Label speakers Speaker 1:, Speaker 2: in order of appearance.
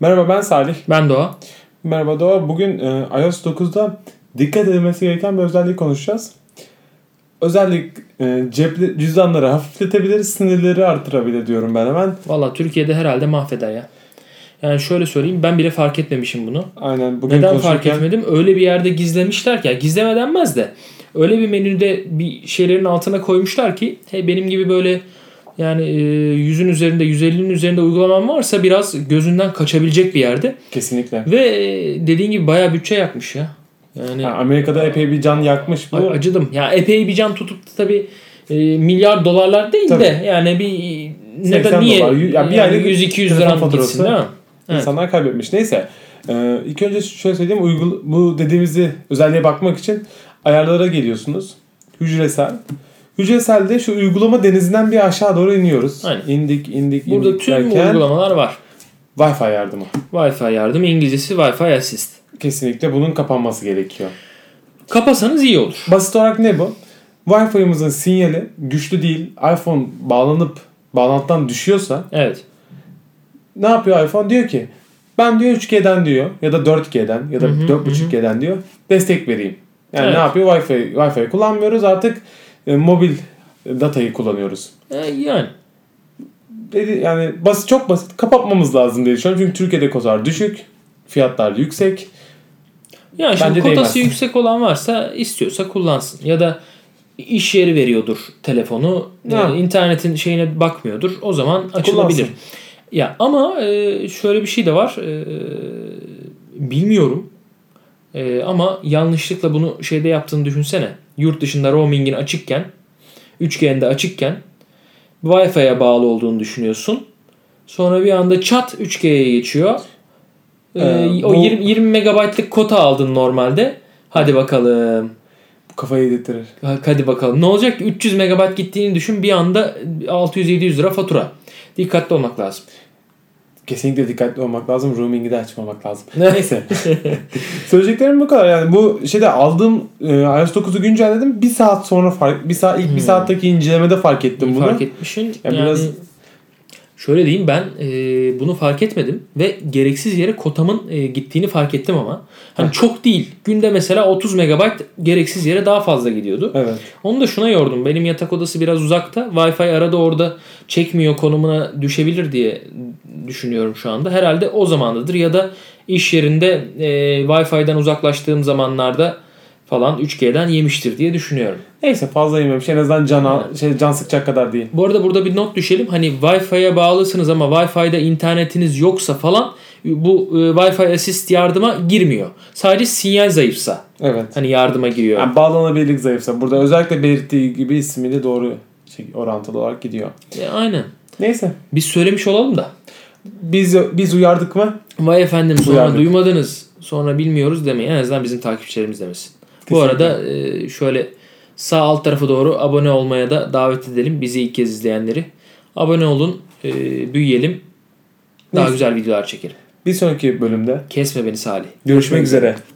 Speaker 1: Merhaba ben Salih.
Speaker 2: Ben Doğa.
Speaker 1: Merhaba Doğa. Bugün e, iOS 9'da dikkat edilmesi gereken bir özelliği konuşacağız. Özellik e, cepli cüzdanları hafifletebilir, sinirleri artırabilir diyorum ben hemen.
Speaker 2: Valla Türkiye'de herhalde mahveder ya. Yani şöyle söyleyeyim ben bile fark etmemişim bunu.
Speaker 1: Aynen bugün
Speaker 2: Neden
Speaker 1: konuşurken
Speaker 2: fark etmedim? Öyle bir yerde gizlemişler ki. Yani gizleme denmez de. Öyle bir menüde bir şeylerin altına koymuşlar ki he benim gibi böyle yani e, yüzün üzerinde 150'nin üzerinde uygulamam varsa biraz gözünden kaçabilecek bir yerde.
Speaker 1: kesinlikle.
Speaker 2: Ve e, dediğin gibi bayağı bütçe yakmış ya. Yani
Speaker 1: Ha, Amerika'da epey bir can yakmış bu.
Speaker 2: Ay, acıdım. Ya epey bir can tutup da tabii e, milyar dolarlar değil
Speaker 1: Tabii.
Speaker 2: de yani bir ne
Speaker 1: 80
Speaker 2: de niye
Speaker 1: dolar. Ya bir
Speaker 2: yani
Speaker 1: aylık
Speaker 2: 100 200
Speaker 1: telefon
Speaker 2: lira
Speaker 1: faturası.
Speaker 2: gitsin değil mi? Evet.
Speaker 1: İnsanlar kaybetmiş. Neyse. Ee, ilk önce şöyle söyleyeyim. Uygul bu dediğimizi özelliğe bakmak için ayarlara geliyorsunuz. Hücresel. Hücreselde şu uygulama denizinden bir aşağı doğru iniyoruz.
Speaker 2: Aynen.
Speaker 1: İndik, indik,
Speaker 2: Burada
Speaker 1: indik
Speaker 2: tüm
Speaker 1: derken
Speaker 2: uygulamalar var.
Speaker 1: Wi-Fi yardımı.
Speaker 2: Wi-Fi yardım, İngilizcesi Wi-Fi assist.
Speaker 1: Kesinlikle bunun kapanması gerekiyor.
Speaker 2: Kapasanız iyi olur.
Speaker 1: Basit olarak ne bu? Wi-Fi'mizin sinyali güçlü değil. iPhone bağlanıp bağlantıdan düşüyorsa
Speaker 2: Evet.
Speaker 1: ne yapıyor iPhone? Diyor ki ben diyor 3G'den diyor ya da 4G'den ya da 4.5G'den diyor destek vereyim. Yani
Speaker 2: Evet.
Speaker 1: ne yapıyor? Wi-Fi Wi-Fi kullanmıyoruz artık e, mobil datayı kullanıyoruz.
Speaker 2: E, yani
Speaker 1: Dedi yani basit çok basit kapatmamız lazım diye düşünüyorum. Çünkü Türkiye'de kotar düşük, fiyatlar yüksek.
Speaker 2: yani şimdi
Speaker 1: Bence
Speaker 2: kotası
Speaker 1: değmez.
Speaker 2: yüksek olan varsa istiyorsa kullansın ya da iş yeri veriyordur telefonu.
Speaker 1: Ne?
Speaker 2: e, internetin şeyine bakmıyordur. O zaman açılabilir.
Speaker 1: Kullansın.
Speaker 2: Ya ama e, şöyle bir şey de var. E, bilmiyorum. E, ama yanlışlıkla bunu şeyde yaptığını düşünsene. Yurt dışında roaming'in açıkken, 3G'nde açıkken Wi-Fi'ye bağlı olduğunu düşünüyorsun. Sonra bir anda çat 3G'ye geçiyor. E,
Speaker 1: Ee,
Speaker 2: o
Speaker 1: bu-
Speaker 2: 20, 20 megabaytlık kota aldın normalde. Hadi bakalım.
Speaker 1: Kafayı yedirtir.
Speaker 2: Hadi bakalım. Ne olacak? 300 megabayt gittiğini düşün. Bir anda 600-700 lira fatura. Dikkatli olmak lazım.
Speaker 1: Kesinlikle dikkatli olmak lazım. Roaming'i de açmamak lazım. Neyse. Söyleyeceklerim bu kadar. Yani bu şeyde aldığım e, iOS 9'u güncelledim. Bir saat sonra fark, bir saat ilk bir saatteki incelemede Hmm. fark ettim bunu.
Speaker 2: Fark etmişsin.
Speaker 1: Ya
Speaker 2: Yani
Speaker 1: biraz-
Speaker 2: şöyle diyeyim ben e, bunu fark etmedim ve gereksiz yere kotamın e, gittiğini fark ettim ama
Speaker 1: Ah.
Speaker 2: hani çok değil. Günde mesela 30 megabayt gereksiz yere daha fazla gidiyordu.
Speaker 1: Evet.
Speaker 2: Onu da şuna yordum. Benim yatak odası biraz uzakta. Wi-Fi arada orada çekmiyor konumuna düşebilir diye düşünüyorum şu anda. Herhalde o zamandadır ya da iş yerinde e, Wi-Fi'den uzaklaştığım zamanlarda falan 3G'den yemiştir diye düşünüyorum.
Speaker 1: Neyse fazla yememiş. En azından can, al- şey, can sıkacak kadar değil.
Speaker 2: Bu arada burada bir not düşelim. Hani Wi-Fi'ye bağlısınız ama Wi-Fi'de internetiniz yoksa falan bu e, Wi-Fi Assist yardıma girmiyor. Sadece sinyal zayıfsa
Speaker 1: Evet.
Speaker 2: hani yardıma giriyor.
Speaker 1: Yani bağlanabilirlik zayıfsa. Burada özellikle belirttiği gibi ismiyle doğru şey, orantılı olarak gidiyor.
Speaker 2: E, aynen.
Speaker 1: Neyse.
Speaker 2: Biz söylemiş olalım da.
Speaker 1: Biz biz uyardık mı?
Speaker 2: Vay efendim sonra
Speaker 1: Uyardık.
Speaker 2: duymadınız. Sonra bilmiyoruz demeyin. En azından bizim takipçilerimiz demesin. Bu
Speaker 1: Kesinlikle.
Speaker 2: arada e, şöyle sağ alt tarafa doğru abone olmaya da davet edelim. Bizi ilk kez izleyenleri. Abone olun. e, büyüyelim. Daha
Speaker 1: Neyse.
Speaker 2: güzel videolar çekelim.
Speaker 1: Bir sonraki bölümde
Speaker 2: Kesme beni Salih.
Speaker 1: görüşmek üzere.